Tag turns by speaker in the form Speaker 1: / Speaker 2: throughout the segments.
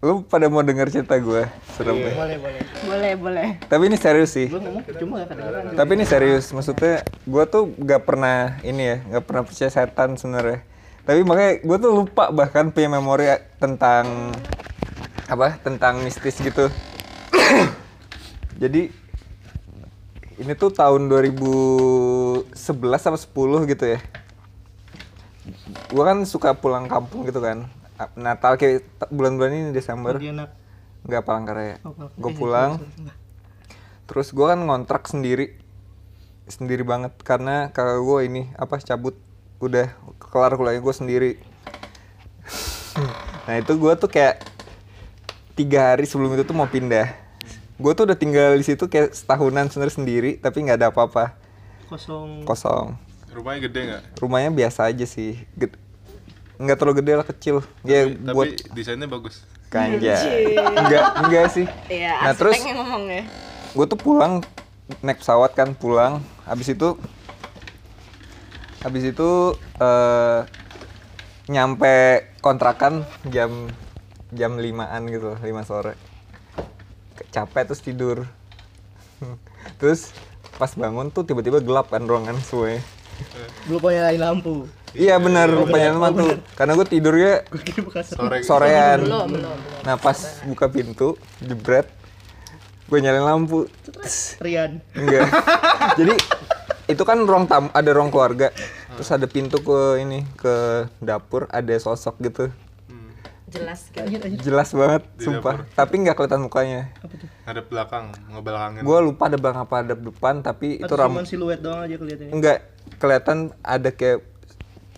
Speaker 1: Lu pada mau denger cerita gue? Serem deh.
Speaker 2: Boleh, boleh.
Speaker 3: Boleh, boleh.
Speaker 1: Tapi ini serius sih.
Speaker 2: Lu ngomong ya, cuma gak kedengeran.
Speaker 1: Tapi ini serius, maksudnya gue tuh gak pernah ini ya, gak pernah percaya setan sebenarnya. Tapi makanya gue tuh lupa bahkan punya memori eh, tentang apa? Tentang mistis gitu. Jadi ini tuh tahun 2011 sama 10 gitu ya. Gue kan suka pulang kampung gitu kan. Natal kayak t- bulan-bulan ini Desember.
Speaker 2: Dia nak
Speaker 1: Nggak Palangkaraya.
Speaker 2: Oh,
Speaker 1: Gue
Speaker 2: Eh,
Speaker 1: pulang, Terus gue kan ngontrak sendiri Sendiri banget Karena kakak gue ini apa cabut Udah kelar kuliahnya gue sendiri Nah itu gue tuh kayak Tiga hari sebelum itu tuh mau pindah Gue tuh udah tinggal di situ kayak setahunan sebenarnya sendiri Tapi nggak ada apa-apa
Speaker 2: kosong.
Speaker 1: Kosong
Speaker 4: Rumahnya gede nggak?
Speaker 1: Rumahnya biasa aja sih Ged- nggak terlalu gede lah kecil ya
Speaker 4: Tapi- Tapi
Speaker 1: buat
Speaker 4: desainnya bagus.
Speaker 1: kanja enggak enggak sih
Speaker 3: Iya,
Speaker 1: nah
Speaker 3: arsitek
Speaker 1: terus
Speaker 3: yang ngomong ya.
Speaker 1: gue tuh pulang naik pesawat kan pulang habis itu habis itu eh, nyampe kontrakan jam jam limaan gitu lima sore Ke- capek terus tidur terus pas bangun tuh tiba-tiba gelap kan ruangan semuanya
Speaker 2: Belum punya lain lampu.
Speaker 1: iya benar rupanya emang tuh karena gue tidurnya
Speaker 2: Gue kira bukan satu.
Speaker 4: Sore.
Speaker 1: sorean
Speaker 3: Belum, belum.
Speaker 1: nah pas buka pintu jebret gue nyalain lampu Tss.
Speaker 2: Rian.
Speaker 1: Enggak. Jadi itu kan ruang tamu, ada ruang keluarga. Terus ada pintu ke ini ke dapur, ada sosok gitu.
Speaker 3: Jelas gitu.
Speaker 2: Lanjut, lanjut.
Speaker 1: Jelas banget, sumpah. Tapi nggak kelihatan mukanya.
Speaker 4: Ada belakang, ngebelakangin.
Speaker 1: Gua lupa ada belakang apa ada depan, tapi itu
Speaker 2: Atau
Speaker 1: ram
Speaker 2: cuma siluet doang aja kelihatannya.
Speaker 1: enggak kelihatan ada kayak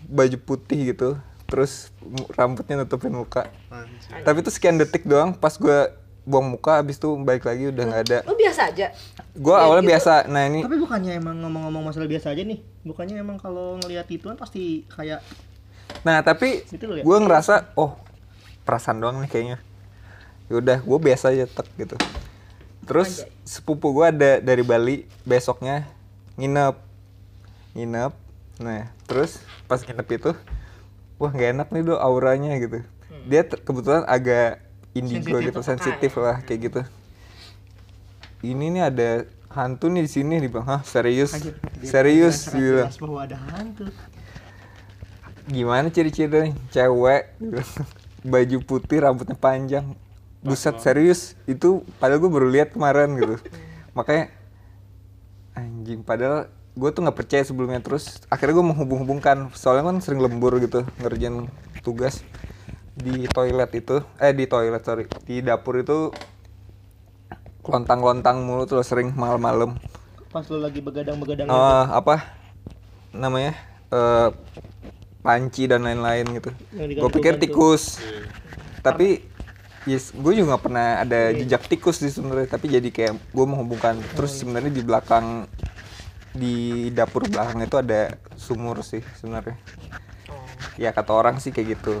Speaker 1: baju putih gitu. Terus mu- rambutnya nutupin muka.
Speaker 4: Anjir.
Speaker 1: Tapi itu sekian detik doang pas gua buang muka habis itu balik lagi udah nggak ada.
Speaker 3: Lu Oh, biasa aja.
Speaker 1: Gua awalnya biasa. Nah, ini
Speaker 2: Tapi bukannya emang ngomong-ngomong masalah biasa aja nih. Bukannya emang kalau ngelihat ituan pasti kayak
Speaker 1: Nah tapi
Speaker 2: Itu lu ya?
Speaker 1: gue ngerasa oh perasaan doang nih kayaknya. Yaudah gue biasa aja tek gitu. Terus sepupu gue ada dari Bali besoknya nginep nginep. Nah terus pas nginep itu wah gak enak nih do auranya gitu. Dia ter- kebetulan agak indigo gitu sensitif lah kayak gitu. Ini nih ada hantu nih di sini nih bang. Hah serius serius dia bilang
Speaker 2: jelas bahwa ada hantu.
Speaker 1: gimana ciri-ciri cewek baju putih rambutnya panjang buset serius itu padahal gue baru lihat kemarin gitu makanya anjing padahal gue tuh nggak percaya sebelumnya terus akhirnya gue menghubung-hubungkan soalnya kan sering lembur gitu ngerjain tugas di toilet itu eh di toilet sorry di dapur itu lontang-lontang mulu tuh sering malam-malam
Speaker 2: Pas lu lagi begadang-begadang
Speaker 1: Eh, apa namanya eh panci dan lain-lain gitu.
Speaker 2: Yang
Speaker 1: Gue pikir
Speaker 2: digantung-gantung.
Speaker 1: tikus, tapi yes, gue juga nggak pernah ada jejak tikus di sebenarnya. Tapi jadi kayak gue menghubungkan. Terus sebenarnya di belakang di dapur belakang itu ada sumur sih sebenarnya. Ya kata orang sih kayak gitu.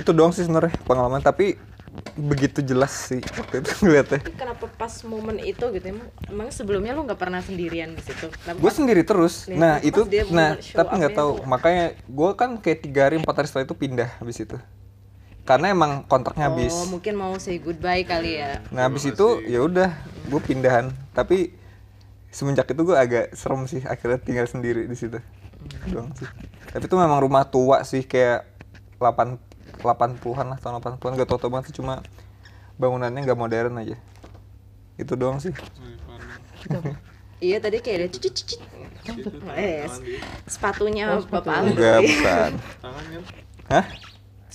Speaker 1: Itu doang sih sebenarnya pengalaman. Tapi begitu jelas sih waktu itu ngeliatnya.
Speaker 3: Tapi kenapa pas momen itu gitu emang, emang sebelumnya lu nggak pernah sendirian di situ? Kenapa
Speaker 1: gue
Speaker 3: pas-
Speaker 1: sendiri terus
Speaker 3: Lihat
Speaker 1: nah
Speaker 3: Iya, pas
Speaker 1: itu
Speaker 3: dia mau
Speaker 1: nah
Speaker 3: show ya?
Speaker 1: tapi nggak
Speaker 3: up-nya
Speaker 1: tahu
Speaker 3: tuh.
Speaker 1: makanya gue kan kayak tiga hari empat hari setelah itu pindah habis itu karena emang kontraknya habis
Speaker 3: Oh, mungkin mau say goodbye kali ya.
Speaker 1: nah habis itu ya udah gue pindahan tapi semenjak itu gue agak serem sih akhirnya tinggal sendiri di situ doang sih tapi itu memang rumah tua sih kayak 8 80-an lah tahun 80-an gak tau tau banget sih cuma bangunannya nggak modern aja itu doang sih
Speaker 3: Iya tadi kayak ada cicit cicit. Eh, s- sepatunya Bapak
Speaker 1: Oh,
Speaker 3: Aldo.
Speaker 1: enggak bukan
Speaker 4: Tangan kan?
Speaker 1: hah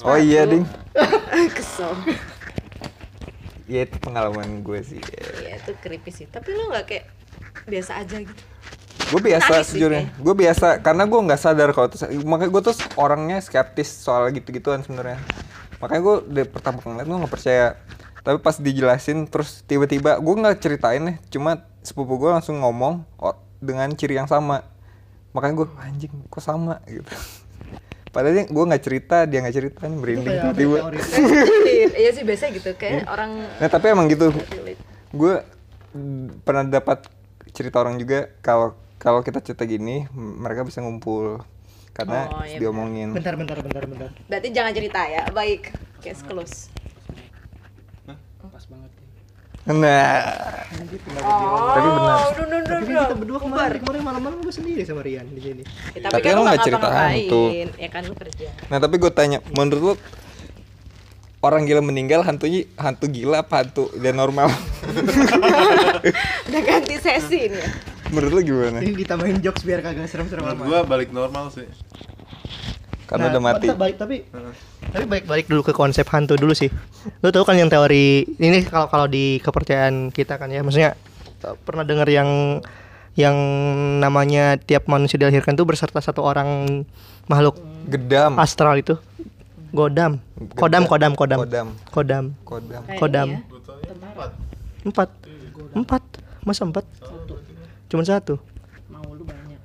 Speaker 1: oh iya ding
Speaker 3: Kesel.
Speaker 1: ya itu pengalaman gue sih
Speaker 3: Iya itu creepy sih. Tapi lu nggak kayak biasa aja gitu.
Speaker 1: gue biasa
Speaker 3: Menarik sih
Speaker 1: sejujurnya gue biasa karena gue nggak sadar kalau itu makanya gue tuh orangnya skeptis soal gitu-gituan sebenarnya makanya gue dari pertama kali ngeliat gue nggak percaya tapi pas dijelasin terus tiba-tiba gue nggak ceritain nih cuma sepupu gue langsung ngomong o- dengan ciri yang sama makanya gue anjing kok sama gitu padahal gue nggak cerita dia nggak cerita nih merinding
Speaker 2: Kayak ada
Speaker 1: tiba-tiba
Speaker 2: teori.
Speaker 3: iya sih biasa gitu kayak orang
Speaker 1: nah tapi emang gitu
Speaker 3: relate.
Speaker 1: gue pernah dapat cerita orang juga kalau kalau kita cerita gini m- mereka bisa ngumpul karena
Speaker 3: Oh, iya
Speaker 1: diomongin
Speaker 2: Bentar, bentar, bentar, bentar.
Speaker 3: Berarti jangan cerita ya. Baik. Case close.
Speaker 5: pas banget ya.
Speaker 1: Nah,
Speaker 5: Anjir,
Speaker 3: Oh,
Speaker 1: Tapi benar.
Speaker 3: duh, duh, duh,
Speaker 2: Tapi kan
Speaker 3: duh.
Speaker 2: kita berdua
Speaker 3: Bubar.
Speaker 2: kemarin, kemarin malam-malam gue sendiri sama Rian di sini.
Speaker 3: Ya, tapi,
Speaker 1: Tapi
Speaker 3: kan
Speaker 1: lo
Speaker 3: lo
Speaker 1: nggak
Speaker 3: nggak
Speaker 1: ceritaan
Speaker 3: ngapa-ngapain.
Speaker 1: tuh.
Speaker 3: Ya kan lo kerja.
Speaker 1: nah tapi gue tanya, menurut lu orang gila meninggal hantunya hantu gila apa hantu dia normal?
Speaker 3: Udah ganti sesi nih. ya.
Speaker 1: menurut lu gimana?
Speaker 2: Jadi ditambahin jokes biar kagak serem-serem
Speaker 4: Menurut
Speaker 2: amat.
Speaker 4: gua balik normal sih.
Speaker 1: Karena
Speaker 2: Nah,
Speaker 1: udah mati.
Speaker 2: tetap balik- tapi tapi balik-balik dulu ke konsep hantu dulu sih. Lo tau kan yang teori ini kalau kalau di kepercayaan kita kan ya, maksudnya eh, pernah dengar yang yang namanya tiap manusia dilahirkan tuh berserta satu orang makhluk
Speaker 1: Gedam,
Speaker 2: astral itu. Godam, kodam, kodam, kodam,
Speaker 1: Kodam.
Speaker 2: kodam,
Speaker 1: kodam.
Speaker 3: Kayak
Speaker 2: Kodam.
Speaker 3: ini ya.
Speaker 4: Gua tanya empat.
Speaker 2: empat, empat, masa empat? Cuman satu.
Speaker 5: mau lu banyak.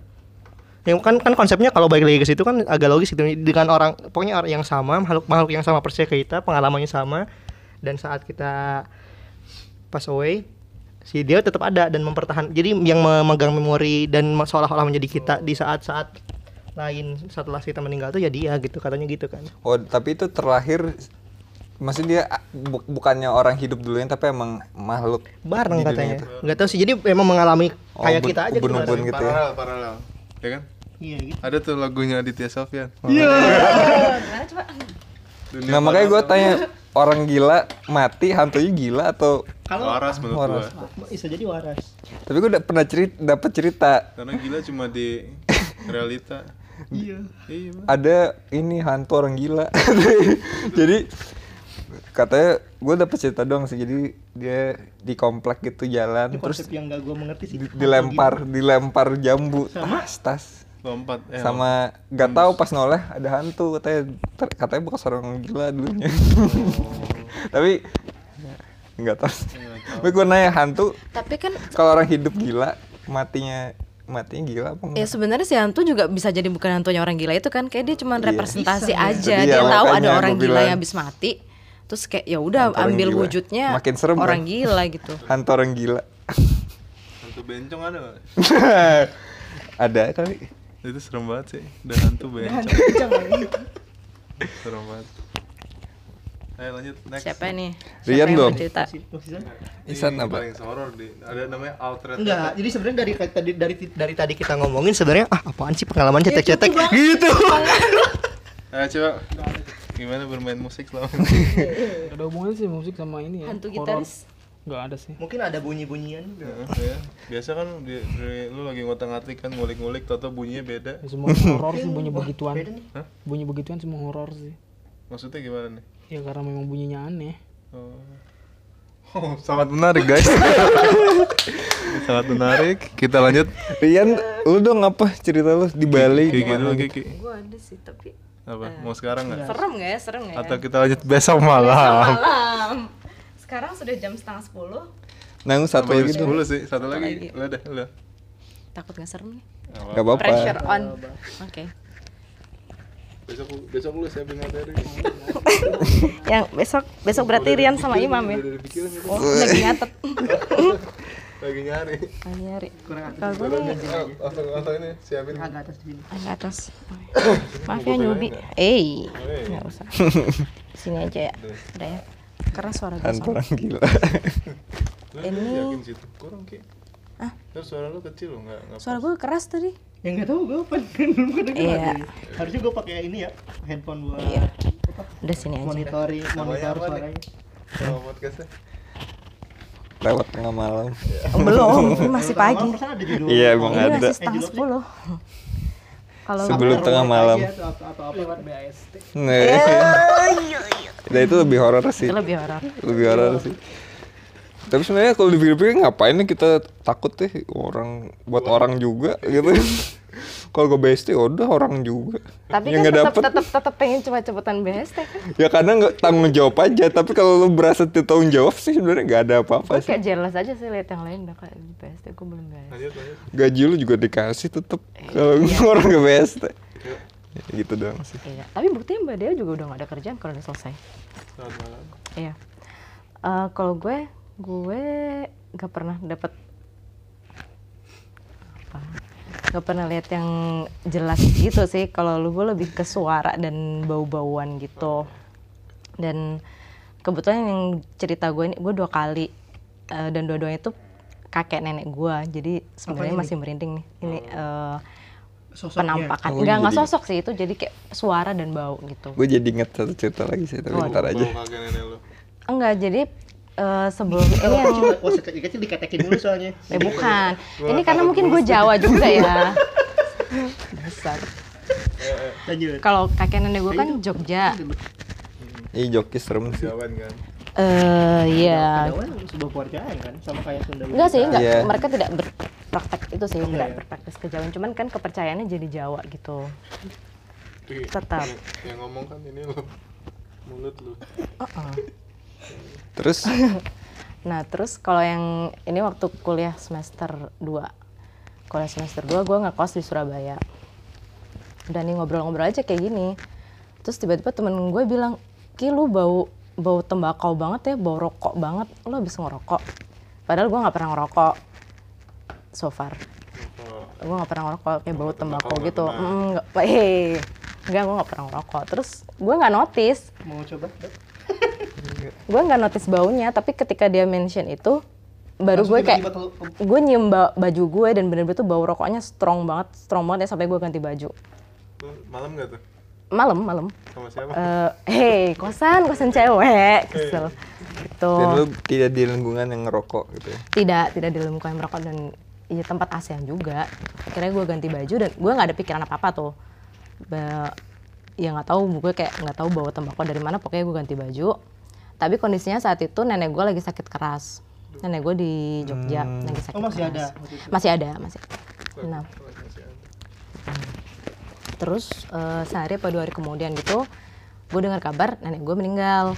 Speaker 2: Ya kan kan konsepnya kalau balik lagi ke situ kan agak logis gitu dengan orang pokoknya orang yang sama makhluk makhluk yang sama persis kayak kita pengalamannya sama dan saat kita pass away si dia tetap ada dan mempertahan jadi yang memegang memori dan me- seolah-olah menjadi kita di saat-saat lain setelah kita meninggal tuh ya dia gitu katanya gitu kan
Speaker 1: Oh, tapi itu terlahir maksudnya dia ah, bu- bukannya orang hidup dulunya tapi emang makhluk di
Speaker 2: bareng
Speaker 1: dunia
Speaker 2: katanya
Speaker 1: itu.
Speaker 2: nggak tahu sih jadi memang mengalami
Speaker 1: Oh,
Speaker 2: kayak
Speaker 1: ben-
Speaker 2: kita aja
Speaker 1: ubun-ubun
Speaker 2: bareng.
Speaker 1: gitu ya.
Speaker 4: Paralel, paralel. Ya kan?
Speaker 2: iya gitu
Speaker 4: Ada tuh lagunya Aditya Sofyan.
Speaker 1: Iya.
Speaker 3: Gimana coba?
Speaker 4: Dunia
Speaker 1: Nah, makanya gue
Speaker 4: paralel.
Speaker 1: tanya orang gila mati hantunya gila atau
Speaker 4: waras menurut
Speaker 1: Nah, Waras.
Speaker 4: gua.
Speaker 2: bisa jadi waras
Speaker 1: tapi gue udah pernah cerita dapat cerita
Speaker 4: Karena gila cuma di realita. Iya. Bang.
Speaker 1: ada ini hantu orang gila jadi katanya gue dapet cerita doang sih jadi dia di komplek gitu jalan
Speaker 2: Ini
Speaker 1: terus
Speaker 2: konsep yang gak gue mengerti sih
Speaker 1: di- dilempar dilempar jambu tas tas
Speaker 4: Lompat. Eh,
Speaker 1: sama gak tahu pas noleh ada hantu katanya ter- katanya bekas orang gila dulunya tapi Iya, nggak tahu tapi gue nanya hantu
Speaker 3: Tapi kan
Speaker 1: kalau orang hidup gila matinya matinya gila apa
Speaker 3: ya
Speaker 1: enggak?
Speaker 3: sebenarnya si hantu juga bisa jadi bukan hantunya orang gila itu kan kayak dia cuma representasi aja
Speaker 1: Iya, Jadi
Speaker 3: dia
Speaker 1: ya,
Speaker 3: tahu ada
Speaker 1: makanya
Speaker 3: orang
Speaker 1: gua
Speaker 3: gila
Speaker 1: bilang.
Speaker 3: yang habis mati terus kayak ya udah
Speaker 1: Hantu orang
Speaker 3: ambil
Speaker 1: gila.
Speaker 3: wujudnya
Speaker 1: Makin serem,
Speaker 3: orang
Speaker 1: kan?
Speaker 3: gila gitu
Speaker 1: hantu orang gila
Speaker 4: Hantu bencong ada nggak?
Speaker 1: ada kali
Speaker 4: Itu serem banget sih. Dan hantu bencong. serem banget. Ayo lanjut next.
Speaker 3: siapa nih Siapa
Speaker 1: Rian
Speaker 3: yang
Speaker 1: belum?
Speaker 3: mau cerita?
Speaker 2: Oh,
Speaker 1: Isan
Speaker 4: Ini
Speaker 1: apa?
Speaker 4: Paling horor di. Ada namanya Altered.
Speaker 2: Enggak, jadi sebenarnya dari tadi dari dari tadi kita ngomongin sebenarnya ah apaan sih pengalaman
Speaker 3: Iya,
Speaker 2: cetek-cetek gitu.
Speaker 4: Ayo Eh, coba. Gimana bermain musik selama
Speaker 5: Gak ada hubungannya sih musik sama ini ya.
Speaker 3: hantu gitu.
Speaker 5: horor.
Speaker 3: gitaris
Speaker 5: Gak ada sih.
Speaker 2: Mungkin ada bunyi-bunyian
Speaker 4: ya. Biasa kan di, di- lu lagi ngotak-ngatik kan ngulik-ngulik Toto bunyinya beda.
Speaker 5: Ya, semua horor sih bunyi begituan.
Speaker 2: beda nih.
Speaker 4: Hah?
Speaker 5: Bunyi begituan semua horor sih.
Speaker 4: Maksudnya gimana nih?
Speaker 5: Ya karena memang bunyinya aneh.
Speaker 4: Oh. Oh, sangat menarik guys. sangat menarik. Kita lanjut.
Speaker 1: Rian, lu dong apa cerita lu di Bali
Speaker 4: Kiki
Speaker 1: gimana?
Speaker 4: dulu Kiki.
Speaker 3: gue ada sih tapi
Speaker 4: Apa? Mau sekarang nggak?
Speaker 3: serem gak ya serem gak ya
Speaker 4: Atau kita lanjut Eh, besok
Speaker 3: Besok
Speaker 4: malam?
Speaker 3: malam sekarang sudah jam setengah sepuluh
Speaker 1: Nanggung satu gitu. lagi
Speaker 4: Sampai jam
Speaker 1: dong.
Speaker 4: 10 sih. Satu lagi. Lu deh, lu.
Speaker 3: takut gak serem nih
Speaker 1: Gak apa-apa.
Speaker 3: pressure on oke
Speaker 4: Besok besok lu saya pengen materi.
Speaker 3: yang Ya, besok besok berarti Rian sama Imam ya
Speaker 4: Dari pikiran itu
Speaker 3: oh, lagi nyatet
Speaker 4: lagi nyari.
Speaker 3: lagi nyari
Speaker 4: Langsung langsung oh, ini siapin.
Speaker 3: Agak atas. Oh, Maaf ya nyubi. Eh, nggak usah. Sini aja ya. Udah ya. Karena suara gue
Speaker 1: Hantu orang gila.
Speaker 4: Ini yakin situ. Kurang Ki. Ah. Terus suara lu kecil lu enggak enggak.
Speaker 3: Suara gue keras tadi.
Speaker 2: Yang enggak Ya, tahu gue apa kan belum pernah
Speaker 3: Iya.
Speaker 2: dengar. Harusnya gue pakai ini ya, headphone buat
Speaker 3: Udah sini aja.
Speaker 2: monitoring,
Speaker 4: apa
Speaker 2: monitor
Speaker 4: nih?
Speaker 2: suaranya.
Speaker 4: Sama podcastnya.
Speaker 1: Lewat tengah malam.
Speaker 3: Oh, Belum, ini masih pagi.
Speaker 2: Malam perasaan ada ya? judul.
Speaker 1: Iya emang
Speaker 3: Ini
Speaker 1: ada.
Speaker 3: masih setengah sepuluh. Kalau
Speaker 1: Sebelum tengah malam.
Speaker 2: Iya, atau- atau- atau apa. Lewat BAST.
Speaker 1: Nah, Nah, itu lebih horor sih.
Speaker 3: itu lebih horor.
Speaker 1: Lebih horor
Speaker 3: Iya.
Speaker 1: sih. Tapi sebenarnya kalau dipikir-pikir ngapain nih kita takut ya orang buat orang juga gitu. kalau gue BST udah orang juga.
Speaker 3: Tapi
Speaker 1: Yang
Speaker 3: kan
Speaker 1: nggak
Speaker 3: tetap
Speaker 1: dapet.
Speaker 3: tetap tetap pengen coba-cobaan BST kan.
Speaker 1: Ya kadang nggak tanggung jawab aja, tapi kalau lu berasa tidak tanggung jawab sih sebenarnya nggak ada
Speaker 3: Gue
Speaker 1: apa-apa sih.
Speaker 3: kayak jelas aja sih lihat yang lain udah kayak di BST gue belum BST.
Speaker 4: Lanjut lanjut.
Speaker 1: Gaji lu juga dikasih tetep kalau orang ke BST. Ya, gitu doang sih.
Speaker 3: Iya. Tapi buktinya Mbak Dea juga udah nggak ada kerjaan kalau udah selesai.
Speaker 4: Selamat malam.
Speaker 3: Iya. Eh, kalau gue, gue nggak pernah dapet apa? Gak pernah lihat yang jelas gitu sih. Kalau lu gue lebih ke suara dan bau-bauan gitu. Dan kebetulan yang cerita gue ini gue dua kali eh, dan dua-duanya itu kakek nenek gue jadi sebenarnya masih merinding nih ini eh, penampakan
Speaker 1: Oh,
Speaker 3: nggak nggak
Speaker 1: jadi-
Speaker 3: sosok sih itu jadi kayak suara dan bau gitu
Speaker 1: Gue jadi inget satu cerita lagi sih, tapi ntar aja.
Speaker 4: Bawa kakek nenek lo.
Speaker 3: enggak jadi eh, sebelum ini yang
Speaker 2: kecil diketekin dulu soalnya.
Speaker 3: eh bukan ini karena mungkin gue Jawa juga ya dasar
Speaker 2: Lanjut.
Speaker 3: kalau kakek nenek gue kan Jogja
Speaker 1: Ih, joki serem sih.
Speaker 3: Iya.
Speaker 4: Jawan kan.
Speaker 3: eh ya
Speaker 2: Jawa sebuah keluargaan kan sama kayak Sunda.
Speaker 3: Enggak sih, enggak.
Speaker 1: Iya. Oh,
Speaker 3: Mereka tidak berpraktek itu sih, enggak berpraktek kejauhan. Cuman kan kepercayaannya jadi Jawa gitu.
Speaker 4: Ih,
Speaker 3: Tetap.
Speaker 4: yang- Yang ngomong kan ini lo. Mulut lo.
Speaker 1: Terus
Speaker 3: Nah, terus kalau yang ini waktu kuliah semester 2. Kuliah semester 2 gue ngekos di Surabaya. Udah nih ngobrol-ngobrol aja kayak gini. Terus tiba-tiba temen gue bilang, Ki lu bau, bau tembakau banget ya, bau rokok banget. Lu habis ngerokok. Padahal gue nggak pernah ngerokok so far.
Speaker 4: Oh,
Speaker 3: gue nggak pernah ngerokok kayak bau tembakau
Speaker 4: tembakau nggak
Speaker 3: gitu
Speaker 4: pernah.
Speaker 3: Mm, nggak eh nggak gue nggak pernah ngerokok terus gue nggak notice
Speaker 2: Mau coba?
Speaker 3: gue nggak notice baunya tapi ketika dia mention itu baru gue kayak
Speaker 1: Nah,
Speaker 3: gue nyium ba- baju gue dan bener-bener tuh bau rokoknya strong banget strong banget ya sampai gue ganti baju
Speaker 4: lo malam gak tuh?
Speaker 3: malam malam
Speaker 4: Sama siapa?
Speaker 3: Eh, hei kosan kosan cewek kesel gitu
Speaker 1: dan lu tidak di lingkungan yang ngerokok gitu ya.
Speaker 3: tidak tidak di dalam yang merokok dan ya tempat ASEAN juga akhirnya gue ganti baju dan gue nggak ada pikiran apa apa tuh Ba- ya nggak tahu gue kayak nggak tahu bawa tembakau dari mana pokoknya gue ganti baju tapi kondisinya saat itu nenek gue lagi sakit keras nenek gue di Jogja lagi sakit
Speaker 2: Oh, masih
Speaker 3: keras
Speaker 2: ada waktu
Speaker 3: masih ada Hmm. masih nah terus eh, sehari atau dua hari kemudian gitu gue dengar kabar nenek gue meninggal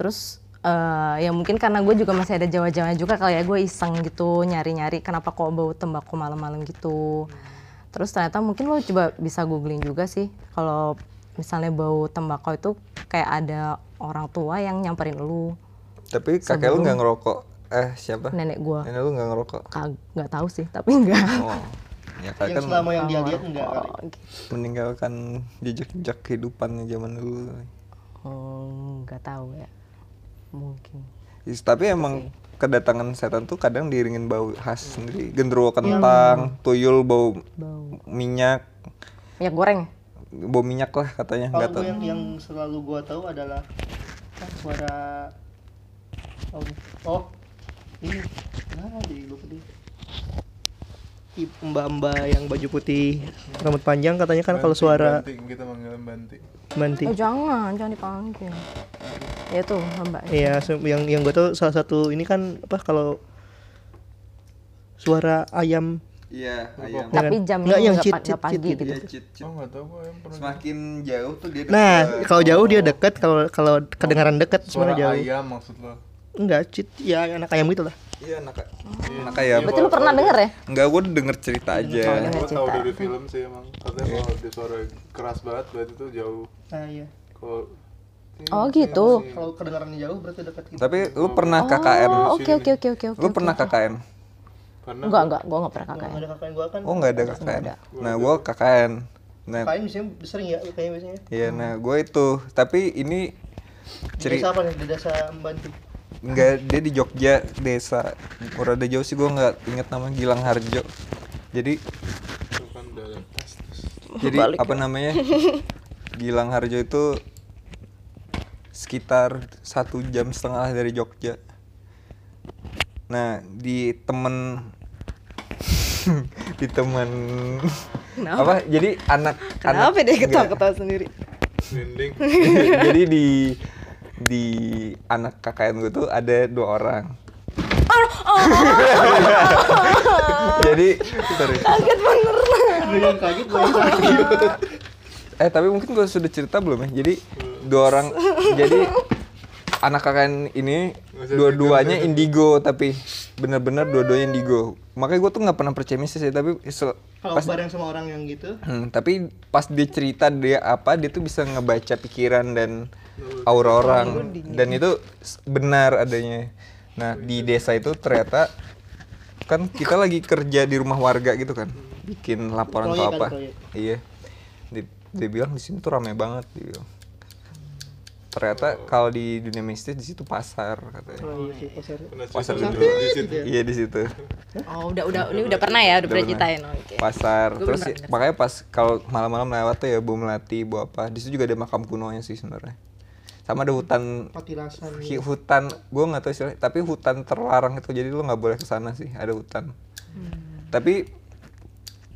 Speaker 3: terus eh, ya mungkin karena gue juga masih ada jawa-jawa juga kali ya gue iseng gitu nyari-nyari kenapa kok bau tembakau malam-malam gitu
Speaker 2: Hmm.
Speaker 3: terus ternyata mungkin lo coba bisa googling juga sih kalau misalnya bau tembakau itu kayak ada orang tua yang nyamperin lu
Speaker 1: Tapi kakek lu nggak ngerokok. Eh siapa?
Speaker 3: nenek gue
Speaker 2: Eh?
Speaker 1: Nenek lu nggak ngerokok.
Speaker 3: nggak tahu sih tapi enggak
Speaker 1: Oh, ya kakek
Speaker 2: Yang
Speaker 1: kan
Speaker 2: selama yang dia lihat enggak kali.
Speaker 1: meninggalkan jejak-jejak kehidupannya zaman dulu.
Speaker 3: nggak tahu ya mungkin
Speaker 1: Is- tapi emang kedatangan setan tuh kadang diiringin bau khas sendiri. Genderuwo kentang, tuyul bau
Speaker 3: bau
Speaker 1: minyak,
Speaker 3: minyak goreng
Speaker 1: bau minyak lah katanya
Speaker 2: Kalau
Speaker 1: nggak
Speaker 2: gue
Speaker 1: tahu.
Speaker 2: yang yang selalu gue tahu adalah kan suara oh, oh ini nah jadi gue pedih mbak-mbak yang baju putih rambut panjang katanya kan kalau
Speaker 4: Banting,
Speaker 2: suara
Speaker 4: banting. kita manggil banting.
Speaker 2: banting
Speaker 3: Eh jangan, jangan dipanggil. Ya tuh, hamba.
Speaker 2: Iya, se- yang yang gue tuh salah satu ini kan apa kalau suara ayam
Speaker 1: Iya, ayam.
Speaker 3: Tapi
Speaker 2: Jangan.
Speaker 3: jamnya
Speaker 2: kan? Nggak, yang
Speaker 3: nggak
Speaker 2: cheat,
Speaker 3: pa- nggak
Speaker 2: cheat, cheat
Speaker 3: pagi
Speaker 2: gitu.
Speaker 3: gitu.
Speaker 1: Iya, cit, cit.
Speaker 4: Oh nggak tahu gue yang pernah.
Speaker 1: Semakin jauh tuh dia
Speaker 2: Nah,
Speaker 1: deket.
Speaker 2: kalau jauh dia deket, kalau kalau kedengaran deket
Speaker 4: Suara
Speaker 2: sebenarnya jauh.
Speaker 4: ayam maksud lo?
Speaker 2: Enggak, cheat ya anak ayam gitu lah.
Speaker 1: Iya, anak anak ayam.
Speaker 3: Berarti lu pernah denger ya?
Speaker 1: Enggak, gue denger cerita aja.
Speaker 3: Nggak
Speaker 4: Gue tahu
Speaker 3: cerita.
Speaker 4: dari film sih emang. Katanya kalau dia suara keras banget berarti itu jauh.
Speaker 2: Nah, iya.
Speaker 4: Kalau
Speaker 3: Oh gitu.
Speaker 2: Kalau kedengaran jauh berarti deket
Speaker 1: Iya.
Speaker 2: gitu.
Speaker 1: Tapi lu pernah KKN?
Speaker 3: Oh, oke oke oke oke oke.
Speaker 1: Lu pernah KKN?
Speaker 4: Karena
Speaker 3: Enggak, enggak, gua enggak pernah
Speaker 2: Nggak
Speaker 3: kakak.
Speaker 2: ada kakak gua kan.
Speaker 1: Oh, nggak ada KKN. Nah, gue KKN. Nah,
Speaker 2: Kain biasanya sering ya kayaknya biasanya.
Speaker 1: iya, nah gue itu. Tapi ini
Speaker 2: Di
Speaker 1: cerita
Speaker 2: Desa apa nih? Di desa Mbanti.
Speaker 1: Enggak, dia di Jogja, desa Murada jauh sih gue nggak inget nama Gilang Harjo. Jadi
Speaker 4: itu kan udah ada tas terus.
Speaker 1: jadi
Speaker 2: ya?
Speaker 1: apa namanya? Gilang Harjo itu sekitar satu jam setengah dari Jogja. Nah di temen di temen apa? Jadi anak anak
Speaker 3: deh
Speaker 1: Iya.
Speaker 3: ketawa-ketawa sendiri?
Speaker 4: Dinding.
Speaker 1: jadi di di anak KKN gue tuh ada dua orang. jadi sorry.
Speaker 2: Lu yang kaget gua yang kaget.
Speaker 1: Eh tapi mungkin gue sudah cerita belum ya. Jadi dua orang jadi anak KKN ini
Speaker 4: Nggak usah
Speaker 1: dua-duanya indigo tapi bener-bener dua-duanya indigo. Makanya gue tuh nggak pernah percaya mistis ya, tapi se-
Speaker 2: Kalau
Speaker 1: pas
Speaker 2: bareng sama orang yang gitu,
Speaker 1: Hmm, tapi pas dia cerita dia apa, dia tuh bisa ngebaca pikiran dan aura orang. Dan itu s- benar adanya. Nah, di desa itu ternyata kan kita lagi kerja di rumah warga gitu kan. Bikin laporan atau
Speaker 2: Proyek kan,
Speaker 1: apa.
Speaker 2: proyek.
Speaker 1: Iya. Di- Dia, bilang di sini tuh rame banget dia bilang. ternyata kalau di dunia mistis di situ pasar katanya
Speaker 2: Oh iya sih pasar.
Speaker 4: Pernah
Speaker 1: Pasar
Speaker 4: cerita
Speaker 1: dulu.
Speaker 4: di situ.
Speaker 1: iya di situ
Speaker 3: Oh, udah udah ini udah pernah ya, udah,
Speaker 1: pernah.
Speaker 3: pernah ceritain. Oh, Oke.
Speaker 1: pasar
Speaker 3: Gua
Speaker 1: terus
Speaker 3: belum
Speaker 1: ya-
Speaker 3: pernah
Speaker 1: makanya pas kalau malam-malam lewat tuh ya bom melati bawa apa di situ juga ada makam kunonya sih sebenarnya sama ada hutan
Speaker 2: Patilasan.
Speaker 1: hi- hutan gue nggak tahu istilahnya tapi hutan terlarang itu jadi lu nggak boleh ke sana sih ada hutan
Speaker 3: Hmm.
Speaker 1: tapi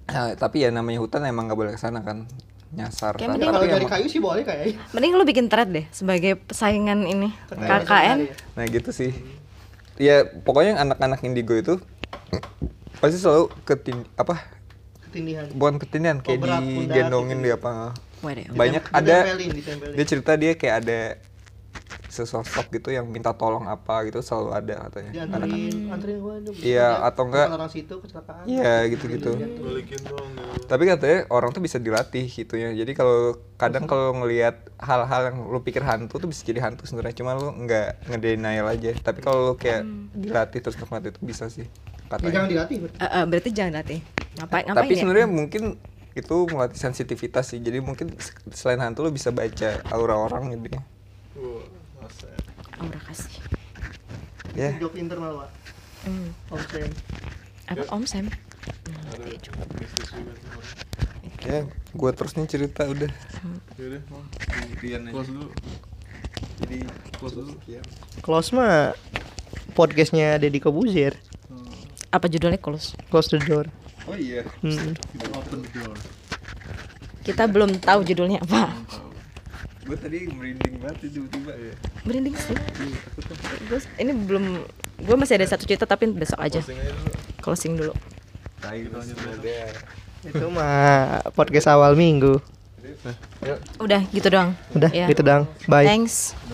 Speaker 1: eh, tapi ya namanya hutan emang nggak boleh ke sana kan nyasar
Speaker 3: Kayak
Speaker 1: Tapi
Speaker 3: mending
Speaker 1: emang-
Speaker 2: kayu sih boleh kayaknya.
Speaker 3: Mending lu bikin thread deh sebagai persaingan ini
Speaker 1: Nah,
Speaker 3: KKN.
Speaker 1: Nah gitu sih. Ya pokoknya anak-anak indigo itu pasti selalu ketin apa
Speaker 2: Ketindihan.
Speaker 1: bukan ketindihan kayak
Speaker 2: berat, pundak
Speaker 1: digendongin dia apa
Speaker 3: Waduh.
Speaker 1: banyak ada
Speaker 2: Ditempelin, ditempelin.
Speaker 1: dia cerita dia kayak ada sesosok gitu yang minta tolong apa gitu selalu ada
Speaker 2: Iya.
Speaker 1: katanya anak
Speaker 2: Dianterin, anterin gua dong.
Speaker 1: Iya, atau enggak-
Speaker 2: Orang situ kecelakaan.
Speaker 1: iya gitu gitu
Speaker 4: Balikin dong gitu.
Speaker 1: tapi katanya orang tuh bisa dilatih gitu ya jadi kalau kadang kalau ngelihat hal-hal yang lu pikir hantu tuh bisa jadi hantu sebenarnya cuma lu nggak ngedenial aja tapi kalau lu kayak
Speaker 3: Hmm.
Speaker 1: dilatih terus nikmat itu bisa sih
Speaker 6: Ya,
Speaker 2: Iya.
Speaker 1: katanya
Speaker 6: jangan dilatih. Bud.
Speaker 3: Eh, eh, berarti jangan latih. Ngapain ngapain
Speaker 1: tapi
Speaker 3: ya?
Speaker 1: sebenarnya mungkin itu melatih sensitivitas sih jadi mungkin s- selain hantu lo bisa baca aura orang gitu ya
Speaker 4: Wah, masa ya.
Speaker 3: Aura Ah, kasih.
Speaker 1: ya
Speaker 6: Job internal, Pak.
Speaker 3: Hmm.
Speaker 6: Om Sam.
Speaker 3: Apa Om Sam?
Speaker 4: Ada
Speaker 3: Iya,
Speaker 4: mistis juga tuh orang.
Speaker 1: ya gue terus nih cerita udah
Speaker 4: Yaudah, mau close dulu.
Speaker 1: jadi
Speaker 4: Close dulu.
Speaker 2: Close mah podcastnya Deddy Kobuzier.
Speaker 3: Apa judulnya Kulus?
Speaker 2: Close the door.
Speaker 1: oh iya
Speaker 2: Hmm.
Speaker 4: Open the door.
Speaker 3: Kita belum tahu judulnya apa.
Speaker 1: gue tadi merinding banget tiba-tiba ya
Speaker 3: Merinding sih. Gua- ini belum gue masih ada satu cerita tapi besok aja.
Speaker 4: Closing aja dulu.
Speaker 3: Closing dulu.
Speaker 1: kayak
Speaker 2: Itu mah podcast awal minggu.
Speaker 3: Udah gitu doang.
Speaker 2: Udah
Speaker 3: Iya.
Speaker 2: gitu dong. Bye.
Speaker 3: Thanks.